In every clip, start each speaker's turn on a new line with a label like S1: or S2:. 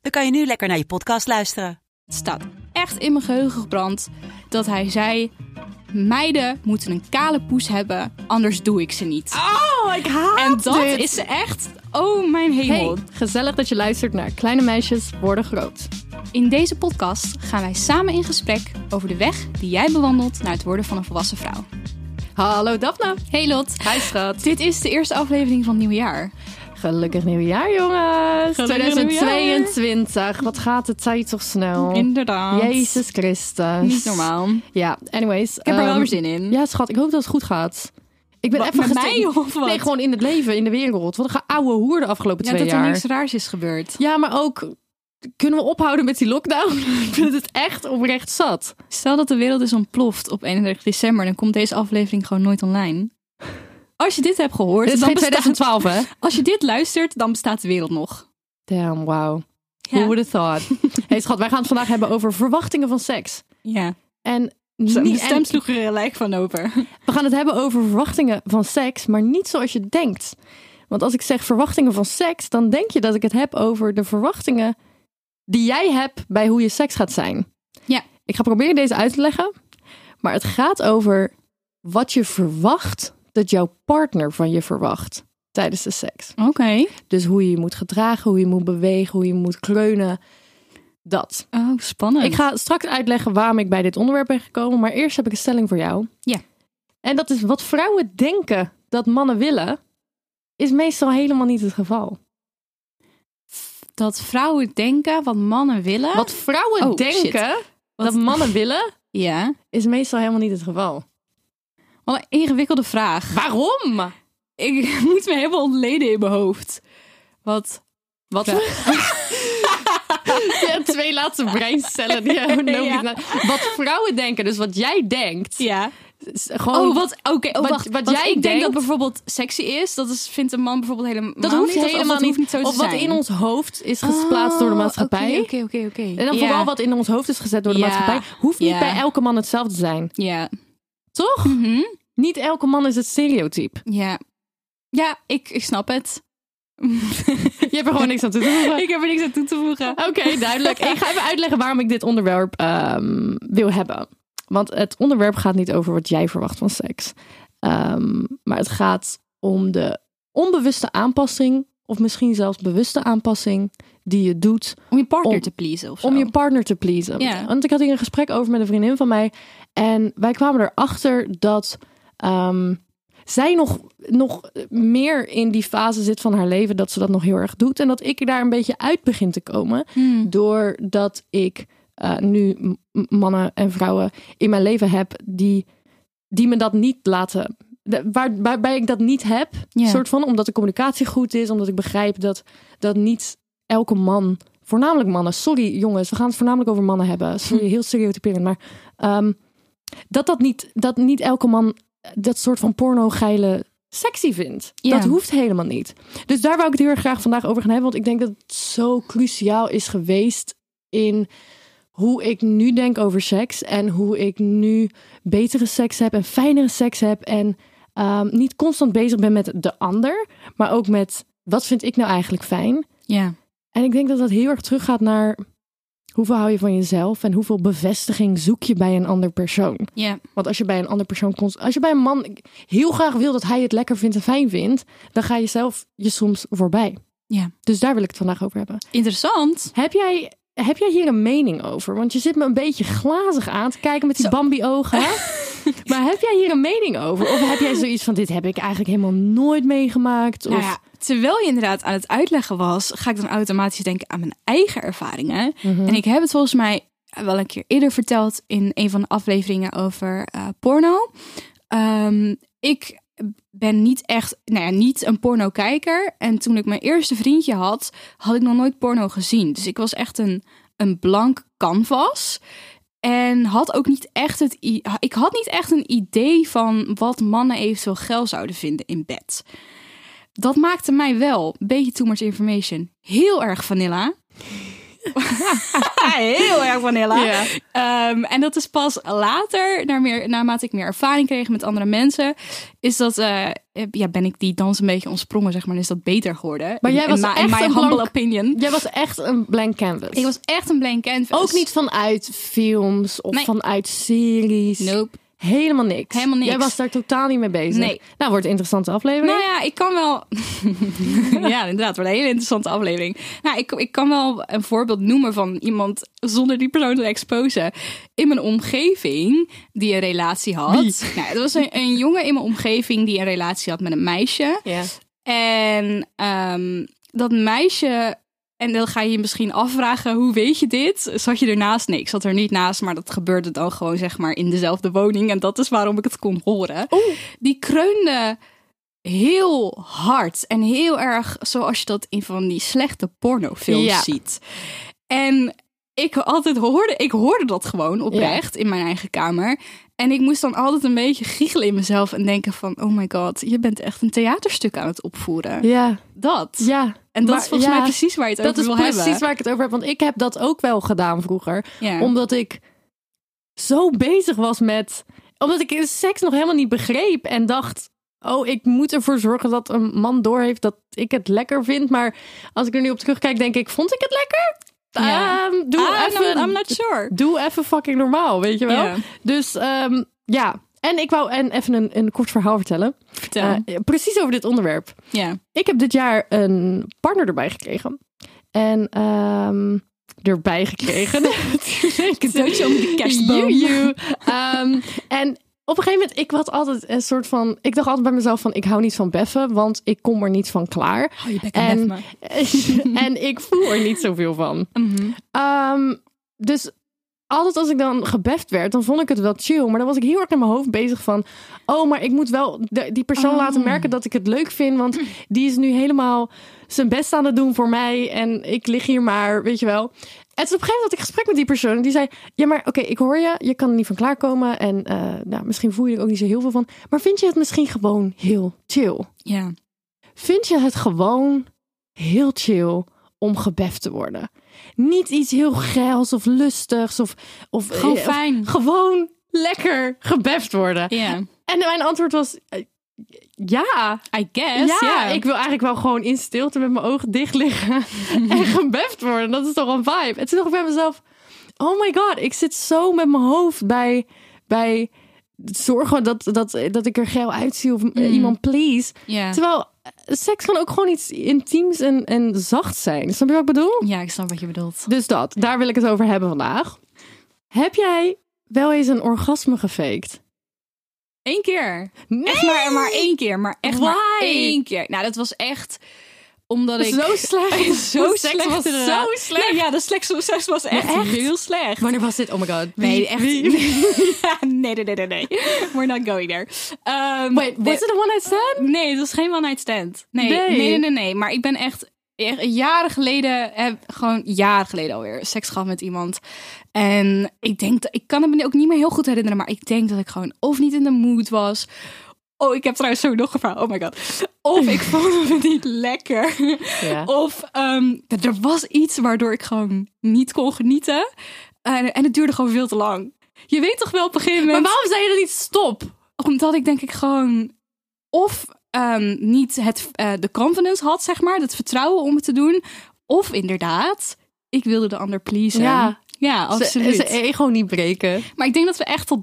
S1: dan kan je nu lekker naar je podcast luisteren.
S2: Het staat echt in mijn geheugen gebrand dat hij zei: Meiden moeten een kale poes hebben, anders doe ik ze niet.
S3: Oh, ik haat
S2: en dat
S3: dit.
S2: is echt, oh mijn hemel.
S3: Hey, gezellig dat je luistert naar Kleine Meisjes Worden Groot.
S2: In deze podcast gaan wij samen in gesprek over de weg die jij bewandelt naar het worden van een volwassen vrouw.
S3: Hallo Daphne.
S2: Hey Lot,
S3: Hi schat.
S2: dit is de eerste aflevering van het nieuwe jaar.
S3: Gelukkig nieuwjaar jongens.
S2: Gelukkig
S3: 2022. Wat gaat de tijd toch snel.
S2: Inderdaad.
S3: Jezus Christus.
S2: Niet normaal. Ik
S3: Ja, anyways. Ik
S2: heb er wel weer zin in.
S3: Ja schat, ik hoop dat het goed gaat. Ik ben
S2: Wat,
S3: even
S2: met
S3: gestegen-
S2: mij of wat?
S3: Nee, gewoon in het leven, in de wereld. Wat een oude hoer de afgelopen
S2: Ja,
S3: twee
S2: dat
S3: jaar.
S2: er niks raars is gebeurd.
S3: Ja, maar ook... Kunnen we ophouden met die lockdown? ik vind het echt oprecht zat.
S2: Stel dat de wereld is ontploft op 31 december, dan komt deze aflevering gewoon nooit online. Als je dit hebt gehoord,
S3: Dit is
S2: dan
S3: geen
S2: bestaat-
S3: 2012, hè?
S2: als je dit luistert, dan bestaat de wereld nog.
S3: Damn, wow.
S2: Ja.
S3: Who would have thought? hey schat, wij gaan het vandaag hebben over verwachtingen van seks.
S2: Ja.
S3: En,
S2: Mijn
S3: niet,
S2: stem
S3: en
S2: sloeg er gelijk van over.
S3: we gaan het hebben over verwachtingen van seks, maar niet zoals je denkt. Want als ik zeg verwachtingen van seks, dan denk je dat ik het heb over de verwachtingen die jij hebt bij hoe je seks gaat zijn.
S2: Ja.
S3: Ik ga proberen deze uit te leggen, maar het gaat over wat je verwacht dat jouw partner van je verwacht tijdens de seks.
S2: Oké.
S3: Dus hoe je je moet gedragen, hoe je moet bewegen, hoe je moet kleunen. Dat.
S2: Oh, spannend.
S3: Ik ga straks uitleggen waarom ik bij dit onderwerp ben gekomen, maar eerst heb ik een stelling voor jou.
S2: Ja.
S3: En dat is wat vrouwen denken dat mannen willen, is meestal helemaal niet het geval.
S2: dat vrouwen denken wat mannen willen.
S3: Wat vrouwen
S2: Oh,
S3: denken dat mannen willen,
S2: Ja.
S3: is meestal helemaal niet het geval.
S2: Wat een ingewikkelde vraag.
S3: Waarom?
S2: Ik moet me helemaal ontleden in mijn hoofd. Wat.
S3: Wat?
S2: Ja.
S3: De twee laatste breincellen die hebben we
S2: Ja.
S3: nodig. Wat vrouwen denken, dus wat jij denkt.
S2: Ja.
S3: is Gewoon,
S2: Oh, wat. Oké, oh,
S3: Wat-
S2: wacht.
S3: wat
S2: Want
S3: jij
S2: ik denk
S3: denkt-
S2: dat bijvoorbeeld sexy is. Dat is, vindt een man bijvoorbeeld helemaal
S3: dat hoeft
S2: niet, of- of
S3: helemaal
S2: dat hoeft niet zo te
S3: of wat
S2: zijn. Ah,
S3: in ons hoofd is gesplaatst door de maatschappij.
S2: Oh, Oké, oké, oké.
S3: En dan
S2: Ja.
S3: vooral wat in ons hoofd is gezet door de
S2: Ja.
S3: maatschappij. Hoeft niet
S2: Ja.
S3: bij elke man hetzelfde te zijn.
S2: Ja.
S3: Toch?
S2: Mhm.
S3: Niet elke man is het stereotype.
S2: Ja. Ja, ik, ik snap het.
S3: Je hebt er gewoon niks aan te doen.
S2: ik heb er niks aan toe te voegen.
S3: Oké, duidelijk. Ik ga even uitleggen waarom ik dit onderwerp ehm, wil hebben. Want het onderwerp gaat niet over wat jij verwacht van seks. Ehm, maar het gaat om de onbewuste aanpassing, of misschien zelfs bewuste aanpassing, die je doet
S2: Om je partner
S3: Om-
S2: te pleasen of zo.
S3: om je partner te pleasen.
S2: Ja.
S3: Want ik had hier een gesprek over met een vriendin van mij. En wij kwamen erachter dat ehm, zij nog, nog meer in die fase zit van haar leven. Dat ze dat nog heel erg doet. En dat ik daar een beetje uit begin te komen.
S2: Hmm.
S3: Doordat ik eh, nu m- m- mannen en vrouwen in mijn leven heb die, die me dat niet laten. de- Waar, waarbij ik dat niet heb.
S2: Ja.
S3: Soort van omdat de communicatie goed is. Omdat ik begrijp dat, dat niet elke man. Voornamelijk mannen. Sorry jongens, we gaan het voornamelijk over mannen hebben. Sorry, heel stereotyperend. Maar ehm, dat, dat, niet, dat niet elke man eh, dat soort van porno-geile sexy vindt.
S2: Ja.
S3: Dat hoeft helemaal niet. Dus daar wou ik het heel erg graag vandaag over gaan hebben. Want ik denk dat het zo cruciaal is geweest in hoe ik nu denk over seks. En hoe ik nu betere seks heb en fijnere seks heb. En ehm, niet constant bezig ben met de ander. Maar ook met wat vind ik nou eigenlijk fijn.
S2: Ja.
S3: En ik denk dat dat heel erg teruggaat naar hoeveel hou je van jezelf. En hoeveel bevestiging zoek je bij een ander persoon.
S2: Ja.
S3: Want als je bij een ander persoon komt, als je bij een man heel graag wil dat hij het lekker vindt en fijn vindt, dan ga je zelf je soms voorbij.
S2: Ja.
S3: Dus daar wil ik het vandaag over hebben.
S2: Interessant.
S3: Heb jij, heb jij hier een mening over? Want je zit me een beetje glazig aan te kijken met die Bambi-ogen. maar heb jij hier een mening over? Of heb jij zoiets van: dit heb ik eigenlijk helemaal nooit meegemaakt? Of...
S2: Nou ja, terwijl je inderdaad aan het uitleggen was, ga ik dan automatisch denken aan mijn eigen ervaringen. En ik heb het volgens mij wel een keer eerder verteld in een van de afleveringen over eh, porno. Ehm, ik ben niet echt, nou ja, niet een porno-kijker. En toen ik mijn eerste vriendje had, had ik nog nooit porno gezien. Dus ik was echt een, een blank canvas. En had ook niet echt het. i- Ik had niet echt een idee van wat mannen eventueel geil zouden vinden in bed. Dat maakte mij wel, een beetje too much information, heel erg vanilla. heel erg vanilla.
S3: Ja.
S2: Ehm, en dat is pas later, naar meer, naarmate ik meer ervaring kreeg met andere mensen, is dat, eh, eh, ja, ben ik die dans een beetje ontsprongen, zeg maar, en is dat beter geworden.
S3: Maar jij
S2: In-
S3: was
S2: in, my- in
S3: echt
S2: my
S3: een
S2: humble
S3: blank-
S2: opinion.
S3: Jij was echt een blank canvas.
S2: Ik was echt een blank canvas.
S3: ook niet vanuit films of
S2: Nee.
S3: vanuit series.
S2: Nope.
S3: Helemaal niks.
S2: Helemaal niks.
S3: Jij was daar totaal niet mee bezig.
S2: Nee.
S3: Nou, wordt een interessante aflevering.
S2: Nou ja, ik kan wel. ja, inderdaad, wordt een hele interessante aflevering. Nou, ik, ik kan wel een voorbeeld noemen van iemand zonder die persoon te exposen. In mijn omgeving die een relatie had. Nou, het was een, een jongen in mijn omgeving die een relatie had met een meisje.
S3: Ja.
S2: En ehm, dat meisje. En dan ga je je misschien afvragen, hoe weet je dit? Zat je ernaast? Nee, ik zat er niet naast, maar dat gebeurde dan gewoon zeg maar in dezelfde woning. En dat is waarom ik het kon horen. Die kreunde heel hard en heel erg zoals je dat in van die slechte pornofilms
S3: Ja.
S2: ziet. En ik altijd hoorde, ik hoorde dat gewoon oprecht in mijn eigen kamer. En ik moest dan altijd een beetje giechelen in mezelf en denken van, oh my god, je bent echt een theaterstuk aan het opvoeren.
S3: Ja.
S2: Dat.
S3: Ja.
S2: En dat
S3: Maar
S2: is volgens
S3: ja,
S2: mij precies waar je het
S3: Dat
S2: over
S3: is
S2: wil
S3: precies
S2: hebben.
S3: waar ik het over heb. Want ik heb dat ook wel gedaan vroeger.
S2: Ja.
S3: Omdat ik zo bezig was met... Omdat ik seks nog helemaal niet begreep. En dacht, oh, ik moet ervoor zorgen dat een man doorheeft dat ik het lekker vind. Maar als ik er nu op terugkijk, denk ik, vond ik het lekker?
S2: Ja.
S3: Ehm, doe
S2: Ah,
S3: even...
S2: I'm not sure.
S3: Doe even fucking normaal, weet je wel?
S2: Ja.
S3: Dus ehm, ja. En ik wou en even een, een kort verhaal vertellen.
S2: Vertel.
S3: Eh, precies over dit onderwerp.
S2: ja.
S3: Ik heb dit jaar een partner erbij gekregen. En ehm, erbij gekregen.
S2: Cadeautje onder de kerstboom.
S3: Joe, joe. Ehm, en op een gegeven moment, ik had altijd een soort van... Ik dacht altijd bij mezelf van, ik hou niet van beffen, want ik kom er niet van klaar.
S2: Oh, je bek en
S3: en,
S2: bef me.
S3: en ik voel er niet zoveel van.
S2: Mhm.
S3: Ehm, dus altijd als ik dan gebeft werd, dan vond ik het wel chill. Maar dan was ik heel erg in mijn hoofd bezig van... Oh, maar ik moet wel de- die persoon
S2: Oh.
S3: laten merken dat ik het leuk vind. Want die is nu helemaal zijn best aan het doen voor mij. En ik lig hier maar, weet je wel. En toen op een gegeven moment had ik gesprek met die persoon. En die zei, ja, maar oké, ik hoor je. Je kan er niet van klaarkomen. En eh, nou, misschien voel je er ook niet zo heel veel van. Maar vind je het misschien gewoon heel chill?
S2: Ja.
S3: Vind je het gewoon heel chill om gebeft te worden? Niet iets heel geils of lustigs of... of
S2: Gewoon
S3: eh, of
S2: fijn.
S3: gewoon lekker gebeft worden.
S2: Ja.
S3: En mijn antwoord was... eh, ja,
S2: I guess.
S3: eh, ja,
S2: Ja.
S3: ik wil eigenlijk wel gewoon in stilte met mijn ogen dicht liggen en gebeft worden. Dat is toch een vibe. En toen dacht ik bij mezelf, oh my god, ik zit zo met mijn hoofd bij, bij zorgen dat, dat, dat ik er geil uitzie of
S2: Mm.
S3: eh, iemand please.
S2: Ja.
S3: Terwijl eh, seks kan ook gewoon iets intiems en, en zacht zijn. Snap je wat ik bedoel?
S2: ja, ik snap wat je bedoelt.
S3: Dus dat, daar wil ik het over hebben vandaag. Heb jij wel eens een orgasme gefaked?
S2: Eén keer.
S3: Nee!
S2: Echt maar, maar één keer. Maar echt maar
S3: Why?
S2: één keer. Nou, dat was echt omdat ik...
S3: Zo slecht.
S2: zo
S3: Seks
S2: slecht.
S3: was
S2: inderdaad.
S3: zo slecht.
S2: Nee, ja, de seks, seks was echt,
S3: Maar echt?
S2: heel slecht.
S3: Wanneer was dit? Oh my god.
S2: Nee, echt. Ja, nee, nee, nee, nee, nee. We're not going there. Ehm,
S3: Wait, was
S2: nee.
S3: het een one-night stand?
S2: Nee, het was geen one night stand. Nee,
S3: Nee.
S2: nee, nee, nee. nee. Maar ik ben echt, echt jaren geleden, heb gewoon jaren geleden alweer seks gehad met iemand. En ik denk, dat, ik kan het me ook niet meer heel goed herinneren, maar ik denk dat ik gewoon of niet in de mood was. Oh, ik heb trouwens zo nog een verhaal. Oh my god. Of ik vond het niet lekker.
S3: Ja.
S2: Of ehm, er was iets waardoor ik gewoon niet kon genieten. En, en het duurde gewoon veel te lang. Je weet toch wel op een gegeven
S3: Maar
S2: moment
S3: waarom zei je dan niet stop?
S2: omdat ik denk ik gewoon of ehm, niet het, eh, de confidence had, zeg maar, het vertrouwen om het te doen. Of inderdaad, ik wilde de ander pleasen.
S3: Ja.
S2: Ja, absoluut.
S3: Zijn ego niet breken.
S2: Maar ik denk dat we echt tot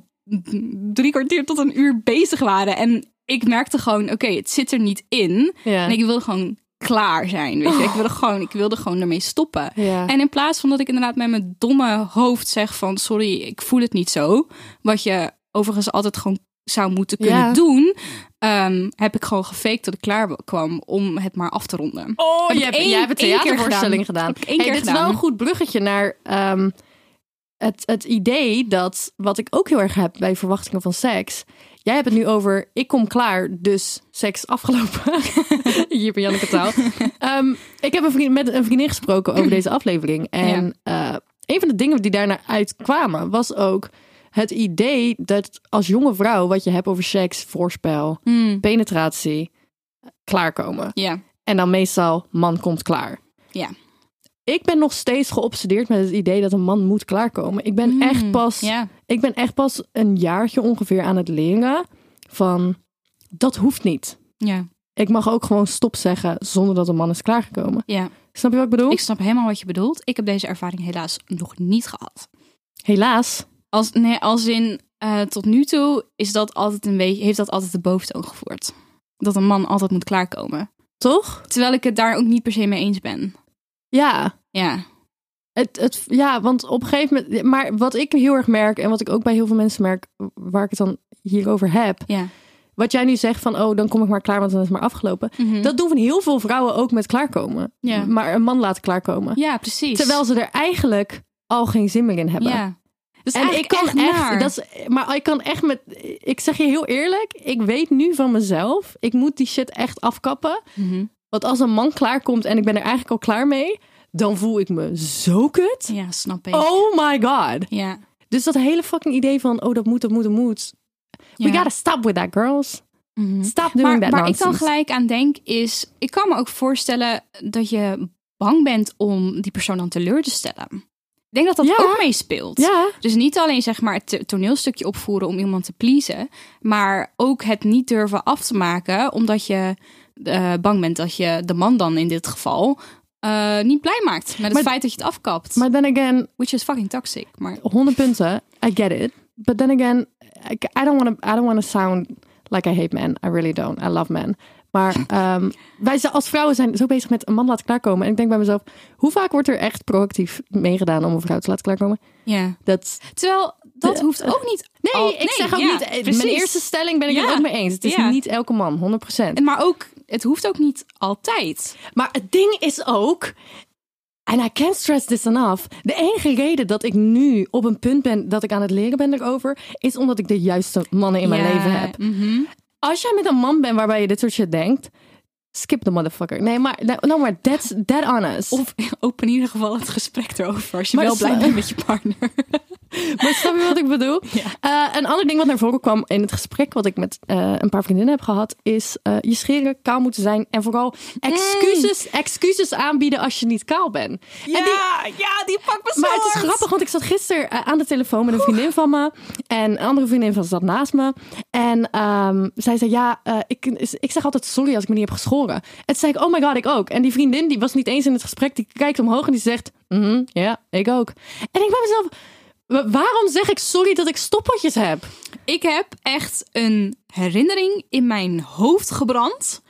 S2: drie kwartier tot een uur bezig waren. En ik merkte gewoon, oké, het zit er niet in.
S3: Ja. Oh.
S2: En ik wilde gewoon klaar zijn, weet je. Ik wilde gewoon, ik wilde gewoon ermee stoppen.
S3: Ja.
S2: En in plaats van dat ik inderdaad met mijn domme hoofd zeg van... sorry, ik voel het niet zo. Wat je overigens altijd gewoon zou moeten kunnen
S3: Ja.
S2: doen... ehm, heb ik gewoon gefaked dat ik klaar kwam om het maar af te ronden.
S3: Oh,
S2: Heb
S3: je
S2: ik
S3: hebt,
S2: één-
S3: jij hebt een
S2: één keer
S3: theatervoorstelling
S2: gedaan.
S3: gedaan.
S2: Heb ik één
S3: Hey,
S2: keer
S3: dit is
S2: gedaan.
S3: wel een goed bruggetje naar ehm, het, het idee dat, wat ik ook heel erg heb bij verwachtingen van seks. Jij hebt het nu over, ik kom klaar, dus seks afgelopen. Hier bij Janneke taal. Ehm, ik heb een vriendin, met een vriendin gesproken over deze aflevering. En eh, een van de dingen die daarna uitkwamen was ook het idee dat als jonge vrouw wat je hebt over seks, voorspel,
S2: Hmm,
S3: penetratie, klaarkomen.
S2: Ja,
S3: En dan meestal man komt klaar.
S2: ja.
S3: Ik ben nog steeds geobsedeerd met het idee dat een man moet klaarkomen. Ik ben echt pas
S2: Mm, Hmm. Ja.
S3: ik ben echt pas een jaartje ongeveer aan het leren van dat hoeft niet.
S2: Ja.
S3: Ik mag ook gewoon stop zeggen zonder dat een man is klaargekomen.
S2: Ja.
S3: Snap je wat ik bedoel?
S2: Ik snap helemaal wat je bedoelt. Ik heb deze ervaring helaas nog niet gehad.
S3: Helaas.
S2: Als, nee, als in eh, tot nu toe is dat altijd een beetje, heeft dat altijd de boventoon gevoerd. Dat een man altijd moet klaarkomen.
S3: Toch?
S2: Terwijl ik het daar ook niet per se mee eens ben.
S3: Ja.
S2: Ja.
S3: Het, het, ja, want op een gegeven moment... Maar wat ik heel erg merk en wat ik ook bij heel veel mensen merk... waar ik het dan hierover heb...
S2: Ja.
S3: Wat jij nu zegt van, oh, dan kom ik maar klaar, want dan is het maar afgelopen.
S2: Mhm.
S3: Dat doen van heel veel vrouwen ook met klaarkomen.
S2: Ja.
S3: Maar een man laten klaarkomen.
S2: ja, precies.
S3: Terwijl ze er eigenlijk al geen zin meer in hebben.
S2: Ja. Dus
S3: En ik kan echt,
S2: naar.
S3: dat is, maar ik kan echt met, ik zeg je heel eerlijk, ik weet nu van mezelf, ik moet die shit echt afkappen.
S2: Mhm.
S3: Want als een man klaarkomt en ik ben er eigenlijk al klaar mee, dan voel ik me zo kut.
S2: Ja, snap ik.
S3: Oh my god.
S2: Ja.
S3: Dus dat hele fucking idee van, oh dat moet, dat moet, dat moet.
S2: ja.
S3: We gotta stop with that girls.
S2: Mhm.
S3: Stop doing
S2: Maar
S3: that
S2: waar ik
S3: nonsense.
S2: dan gelijk aan denk is, ik kan me ook voorstellen dat je bang bent om die persoon dan teleur te stellen. Ik denk dat dat
S3: Ja.
S2: ook meespeelt.
S3: Ja,
S2: Dus niet alleen zeg maar het to- toneelstukje opvoeren om iemand te pleasen, maar ook het niet durven af te maken omdat je eh, bang bent dat je de man dan in dit geval eh, niet blij maakt met het
S3: Maar-
S2: feit dat je het afkapt.
S3: maar Oh. then again,
S2: which is fucking toxic. Maar
S3: 100 punten, I get it. But then again, I, I don't want to I don't wanna sound like I hate men. I really don't. I love men. Maar ehm, wij zijn als vrouwen zijn zo bezig met een man laten klaarkomen. En ik denk bij mezelf, hoe vaak wordt er echt proactief meegedaan om een vrouw te laten klaarkomen?
S2: ja,
S3: Dat,
S2: terwijl dat hoeft ook niet.
S3: nee,
S2: al-
S3: ik zeg ook
S2: ja,
S3: niet. eh,
S2: precies.
S3: Mijn eerste stelling ben ik
S2: Ja.
S3: het ook mee eens. Het is
S2: Ja.
S3: niet elke man, 100%.
S2: En Maar ook, het hoeft ook niet altijd.
S3: Maar het ding is ook. En I can't stress this enough. De enige reden dat ik nu op een punt ben dat ik aan het leren ben erover, is omdat ik de juiste mannen in mijn
S2: Ja,
S3: leven heb.
S2: mhm.
S3: Als jij met een man bent waarbij je dit soort shit denkt, skip the motherfucker. Nee, maar, no, maar that's that honest.
S2: Of open in ieder geval het gesprek erover. Als je
S3: Maar
S2: wel
S3: dat-
S2: blij bent met je partner.
S3: Maar snap je wat ik bedoel? Eh, een ander ding wat naar voren kwam in het gesprek wat ik met eh, een paar vriendinnen heb gehad, is eh, je scheren kaal moeten zijn en vooral excuses, excuses aanbieden als je niet kaal bent. En die,
S2: ja, die pak me
S3: Maar het is grappig, want ik zat gisteren eh, aan de telefoon met een vriendin van me. En een andere vriendin van zat naast me. En ehm, zij zei, ja, eh, ik, ik zeg altijd sorry als ik me niet heb geschoren. En toen zei ik, oh my god, ik ook. En die vriendin, die was niet eens in het gesprek. Die kijkt omhoog en die zegt, mhm, ja, ik ook. En ik bij mezelf, wa- waarom zeg ik sorry dat ik stoppeltjes heb?
S2: Ik heb echt een herinnering in mijn hoofd gebrand.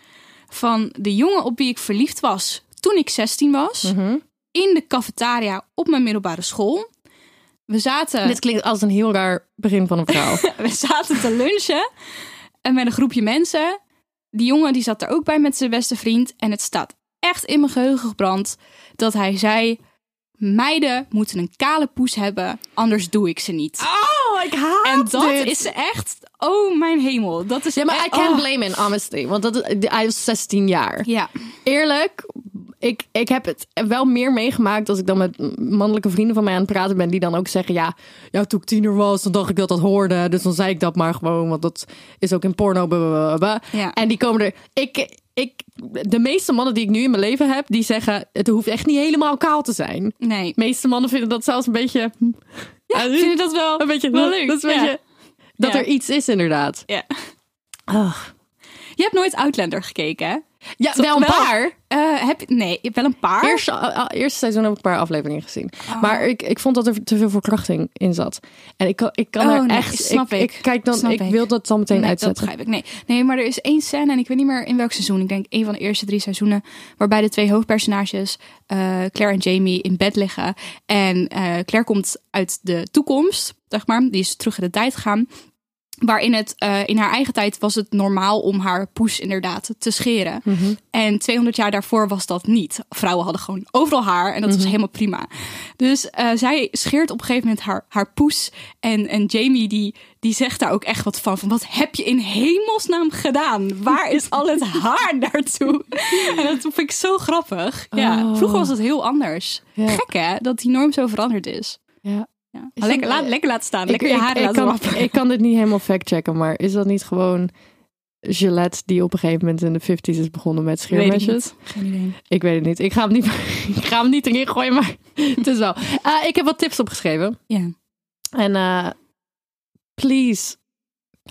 S2: Van de jongen op wie ik verliefd was toen ik 16 was. In de cafetaria op mijn middelbare school. We zaten,
S3: Dit klinkt als een heel raar begin van een verhaal.
S2: we zaten te lunchen. En met een groepje mensen. Die jongen die zat er ook bij met zijn beste vriend. En het staat echt in mijn geheugen gebrand dat hij zei... Meiden moeten een kale poes hebben, anders doe ik ze niet.
S3: oh, ik haat
S2: en dat
S3: dit.
S2: is echt... Oh, mijn hemel. Dat is
S3: Ja, maar
S2: echt-
S3: I can't
S2: oh.
S3: blame him, honestly. Want dat, hij was 16 jaar.
S2: Ja,
S3: eerlijk, ik, ik heb het wel meer meegemaakt als ik dan met mannelijke vrienden van mij aan het praten ben. Die dan ook zeggen, ja, ja toen ik tiener was, dan dacht ik dat dat hoorde. Dus dan zei ik dat maar gewoon, want dat is ook in porno. blablabla.
S2: Ja.
S3: En die komen er... Ik, ik, de meeste mannen die ik nu in mijn leven heb, die zeggen, het hoeft echt niet helemaal kaal te zijn.
S2: nee.
S3: De meeste mannen vinden dat zelfs een beetje... Ja,
S2: Vind je dat wel,
S3: een beetje
S2: wel leuk?
S3: Dat, is een
S2: Ja.
S3: beetje, dat
S2: Ja.
S3: er iets is, inderdaad.
S2: Ja. Je hebt nooit Outlander gekeken, hè?
S3: Ja, wel een paar.
S2: Eh, heb, je- nee, wel een paar.
S3: Eerste, eh, eerste seizoen heb ik een paar afleveringen gezien.
S2: Oh.
S3: Maar ik, ik vond dat er te veel verkrachting in zat. En ik kan, ik kan
S2: Oh,
S3: er
S2: nee,
S3: echt...
S2: snap
S3: ik,
S2: ik.
S3: kijk dan,
S2: Snap
S3: ik,
S2: ik.
S3: wil dat dan meteen
S2: nee,
S3: uitzetten.
S2: Dat begrijp ik. Nee. nee, maar er is één scène, en ik weet niet meer in welk seizoen. Ik denk een van de eerste drie seizoenen. Waarbij de twee hoofdpersonages, eh, Claire en Jamie, in bed liggen. En eh, Claire komt uit de toekomst, zeg maar. Die is terug in de tijd gegaan. Waarin het eh, in haar eigen tijd was het normaal om haar poes inderdaad te scheren.
S3: Mhm.
S2: En 200 jaar daarvoor was dat niet. Vrouwen hadden gewoon overal haar en dat
S3: Mhm.
S2: was helemaal prima. Dus eh, zij scheert op een gegeven moment haar, haar poes. En, en Jamie die, die zegt daar ook echt wat van. Van wat heb je in hemelsnaam gedaan? Waar is al het haar naartoe? En dat vind ik zo grappig. Ja,
S3: Oh.
S2: vroeger was het heel anders.
S3: Ja.
S2: Gek hè, dat die norm zo veranderd is.
S3: Ja.
S2: Ja.
S3: Is
S2: Lekker,
S3: dat-
S2: laat, lekker laten staan. Lekker je haren
S3: ik,
S2: laten wapperen.
S3: kan, ik kan dit niet helemaal factchecken, maar is dat niet gewoon Gillette die op een gegeven moment in de 50s is begonnen met scheermesjes?
S2: niet. Geen idee.
S3: Ik weet het niet. Ik ga hem niet, ik ga hem niet erin gooien, maar het is wel. Eh, ik heb wat tips opgeschreven.
S2: Ja.
S3: En eh, please,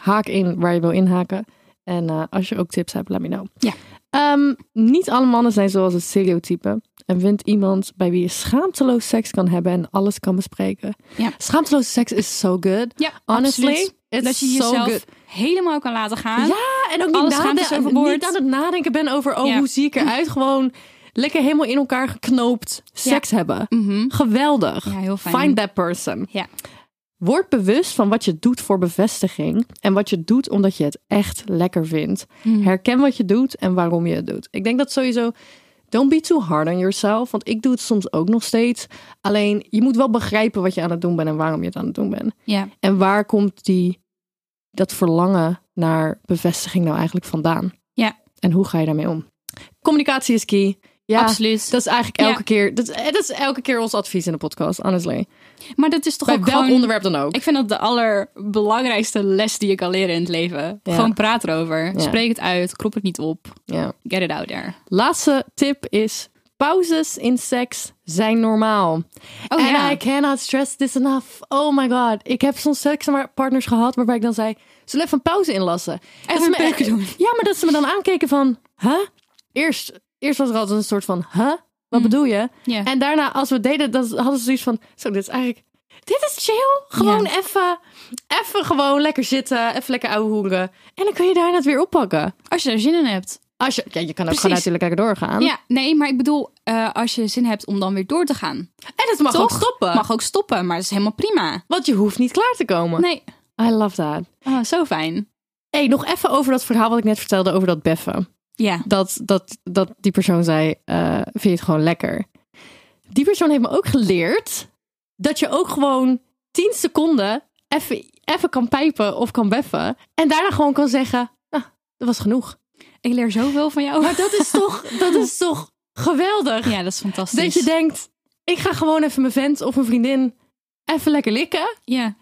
S3: haak in waar je wil inhaken. En eh, als je ook tips hebt, let me know.
S2: Ja.
S3: Ehm, niet alle mannen zijn zoals het stereotype. En vind iemand bij wie je schaamteloos seks kan hebben en alles kan bespreken.
S2: Ja.
S3: Schaamteloos seks is so good.
S2: Ja,
S3: Honestly,
S2: absoluut.
S3: it's
S2: dat je
S3: so
S2: jezelf
S3: good.
S2: helemaal kan laten gaan.
S3: Ja, en ook
S2: Alle
S3: niet,
S2: schaamte
S3: nade-
S2: is overboord.
S3: niet aan het nadenken ben over, oh,
S2: Ja.
S3: hoe zie ik eruit? Gewoon lekker helemaal in elkaar geknoopt seks hebben.
S2: Mhm.
S3: Geweldig.
S2: Ja, heel fijn.
S3: Find that person.
S2: Ja.
S3: Word bewust van wat je doet voor bevestiging en wat je doet omdat je het echt lekker vindt.
S2: Hmm.
S3: Herken wat je doet en waarom je het doet. Ik denk dat sowieso don't be too hard on yourself, want ik doe het soms ook nog steeds. Alleen je moet wel begrijpen wat je aan het doen bent en waarom je het aan het doen bent.
S2: ja.
S3: En waar komt die, dat verlangen naar bevestiging nou eigenlijk vandaan?
S2: Ja.
S3: En hoe ga je daarmee om? Communicatie is key. Ja,
S2: Absoluut.
S3: Dat is eigenlijk elke
S2: Ja.
S3: keer. Dat, eh, dat is elke keer ons advies in de podcast, honestly.
S2: Maar dat is toch
S3: Bij
S2: ook
S3: welk
S2: gewoon...
S3: onderwerp dan ook.
S2: Ik vind dat de allerbelangrijkste les die je kan leren in het leven.
S3: Ja.
S2: Gewoon praat erover.
S3: Ja.
S2: Spreek het uit. Krop het niet op.
S3: Ja.
S2: Get it out there.
S3: Laatste tip is: pauzes in seks zijn normaal.
S2: Oh,
S3: en
S2: ja.
S3: I cannot stress this enough. Oh my god. Ik heb soms sekspartners gehad waarbij ik dan zei: zullen we even een pauze inlassen? Dat ze
S2: een
S3: me- e-
S2: peuken doen.
S3: Ja, maar dat ze me dan aankeken van: huh? Eerst, eerst was er altijd een soort van: huh? Wat bedoel je?
S2: Hmm. Ja.
S3: En daarna, als we het deden, dan hadden ze zoiets van: zo, dit is eigenlijk. Dit is chill. Gewoon
S2: Ja.
S3: even, even gewoon lekker zitten, even lekker ouwe hoeren. En dan kun je daarna het weer oppakken.
S2: Als je daar zin in hebt.
S3: Als je, ja, je kan ook
S2: Precies.
S3: gewoon natuurlijk lekker doorgaan.
S2: Ja, nee, maar ik bedoel, eh, als je zin hebt om dan weer door te gaan.
S3: En het mag
S2: Toch?
S3: ook stoppen.
S2: Mag ook stoppen, maar dat is helemaal prima.
S3: Want je hoeft niet klaar te komen.
S2: Nee,
S3: I love that.
S2: Ah, zo fijn.
S3: hey, nog even over dat verhaal wat ik net vertelde over dat beffen.
S2: Ja.
S3: Dat, dat, dat die persoon zei, eh, vind je het gewoon lekker. Die persoon heeft me ook geleerd dat je ook gewoon 10 seconden even, even kan pijpen of kan beffen. En daarna gewoon kan zeggen, nou, dat was genoeg.
S2: Ik leer zoveel van jou.
S3: Maar dat is toch, dat is toch geweldig.
S2: Ja, dat is fantastisch.
S3: dat je denkt, ik ga gewoon even mijn vent of mijn vriendin even lekker likken.
S2: Ja.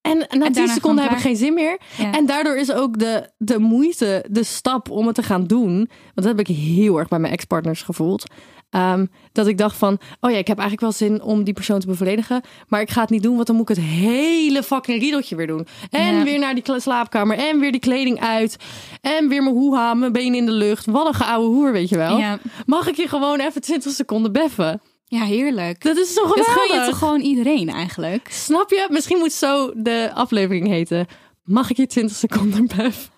S3: En na
S2: daarna
S3: 10
S2: gewoon
S3: seconden heb ik
S2: klaar.
S3: geen zin meer.
S2: Ja.
S3: En daardoor is ook de, de moeite, de stap om het te gaan doen. Want dat heb ik heel erg bij mijn ex-partners gevoeld. Ehm, dat ik dacht van, oh ja, ik heb eigenlijk wel zin om die persoon te bevredigen. Maar ik ga het niet doen, want dan moet ik het hele fucking riedeltje weer doen. En
S2: Ja.
S3: weer naar die kla- slaapkamer. En weer die kleding uit. En weer mijn hoeha, mijn benen in de lucht. Wat een geouwe hoer, weet je wel.
S2: Ja.
S3: Mag ik je gewoon even 20 seconden beffen?
S2: ja, heerlijk.
S3: Dat is zo
S2: Dat
S3: geweldig.
S2: gun je toch gewoon iedereen eigenlijk?
S3: Snap je? Misschien moet zo de aflevering heten. Mag ik je 20 seconden beffen?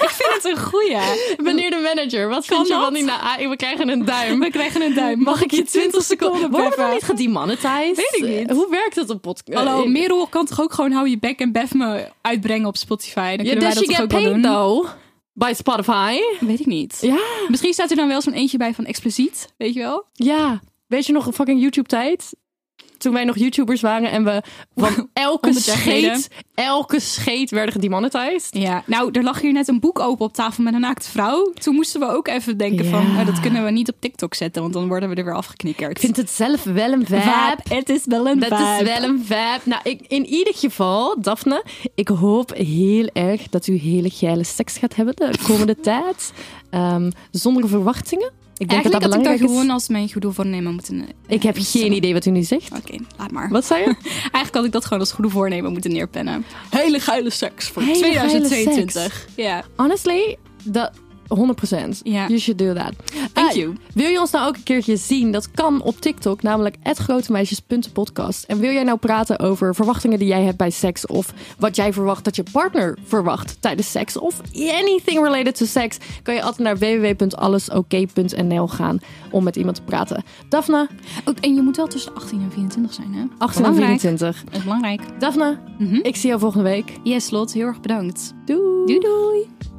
S2: Ik vind het een goeie.
S3: Meneer de manager, wat
S2: Kan
S3: vind je
S2: dat?
S3: van die na ah, We krijgen een duim.
S2: We krijgen een duim.
S3: Mag ik je 20 seconden Worden we dan niet gedemonetized?
S2: Weet ik niet.
S3: Eh, Hoe werkt dat op podcast? Eh,
S2: Hallo, Merel kan toch ook gewoon Hou Je Bek en Bef me uitbrengen op Spotify? Dan
S3: Yeah,
S2: kunnen wij
S3: does
S2: dat
S3: she
S2: toch
S3: get
S2: ook wel
S3: paid
S2: doen?
S3: though? By Spotify?
S2: Weet ik niet.
S3: Ja.
S2: Misschien staat er dan wel zo'n eentje bij van expliciet, weet je wel?
S3: Ja. Weet je nog een fucking YouTube tijd? Toen wij nog YouTubers waren en we van elke
S2: Honderd jaar geleden.
S3: scheet, elke scheet werden gedemonetized.
S2: Ja. Nou, er lag hier net een boek open op tafel met een naakte vrouw. Toen moesten we ook even denken
S3: Ja.
S2: van, nou, dat kunnen we niet op TikTok zetten, want dan worden we er weer afgeknikkerd.
S3: Ik vind het zelf wel een vibe.
S2: het is wel een
S3: Dat is
S2: vibe.
S3: wel een vibe. Nou, ik, in ieder geval, Daphne, ik hoop heel erg dat u hele geile seks gaat hebben de komende tijd. Ehm, zonder verwachtingen. Ik denk
S2: Eigenlijk
S3: dat
S2: had
S3: dat
S2: ik daar
S3: belangrijk is.
S2: gewoon als mijn goede voornemen moeten... eh,
S3: Ik heb
S2: eh,
S3: geen idee wat u nu zegt.
S2: Oké, laat maar.
S3: Wat zei je?
S2: Eigenlijk had ik dat gewoon als goede voornemen moeten neerpennen. Hele geile seks voor
S3: Hele geile
S2: 2022. Ja.
S3: Honestly, dat, 100%.
S2: Ja.
S3: You should do that.
S2: Thank
S3: Dus Ah,
S2: you.
S3: Wil je ons nou ook een keertje zien? Dat kan op TikTok, namelijk @grotemeisjes.podcast. En wil jij nou praten over verwachtingen die jij hebt bij seks of wat jij verwacht dat je partner verwacht tijdens seks of anything related to seks, kan je altijd naar www.allesoké.nl gaan om met iemand te praten. Daphne,
S2: Ook, en je moet wel tussen 18 en 24 zijn, hè?
S3: 18 en
S2: Belangrijk.
S3: 24.
S2: Dat is belangrijk.
S3: Daphne,
S2: Mhm.
S3: ik zie jou volgende week.
S2: Yes, Lot, heel erg bedankt.
S3: Doei.
S2: Doei doei.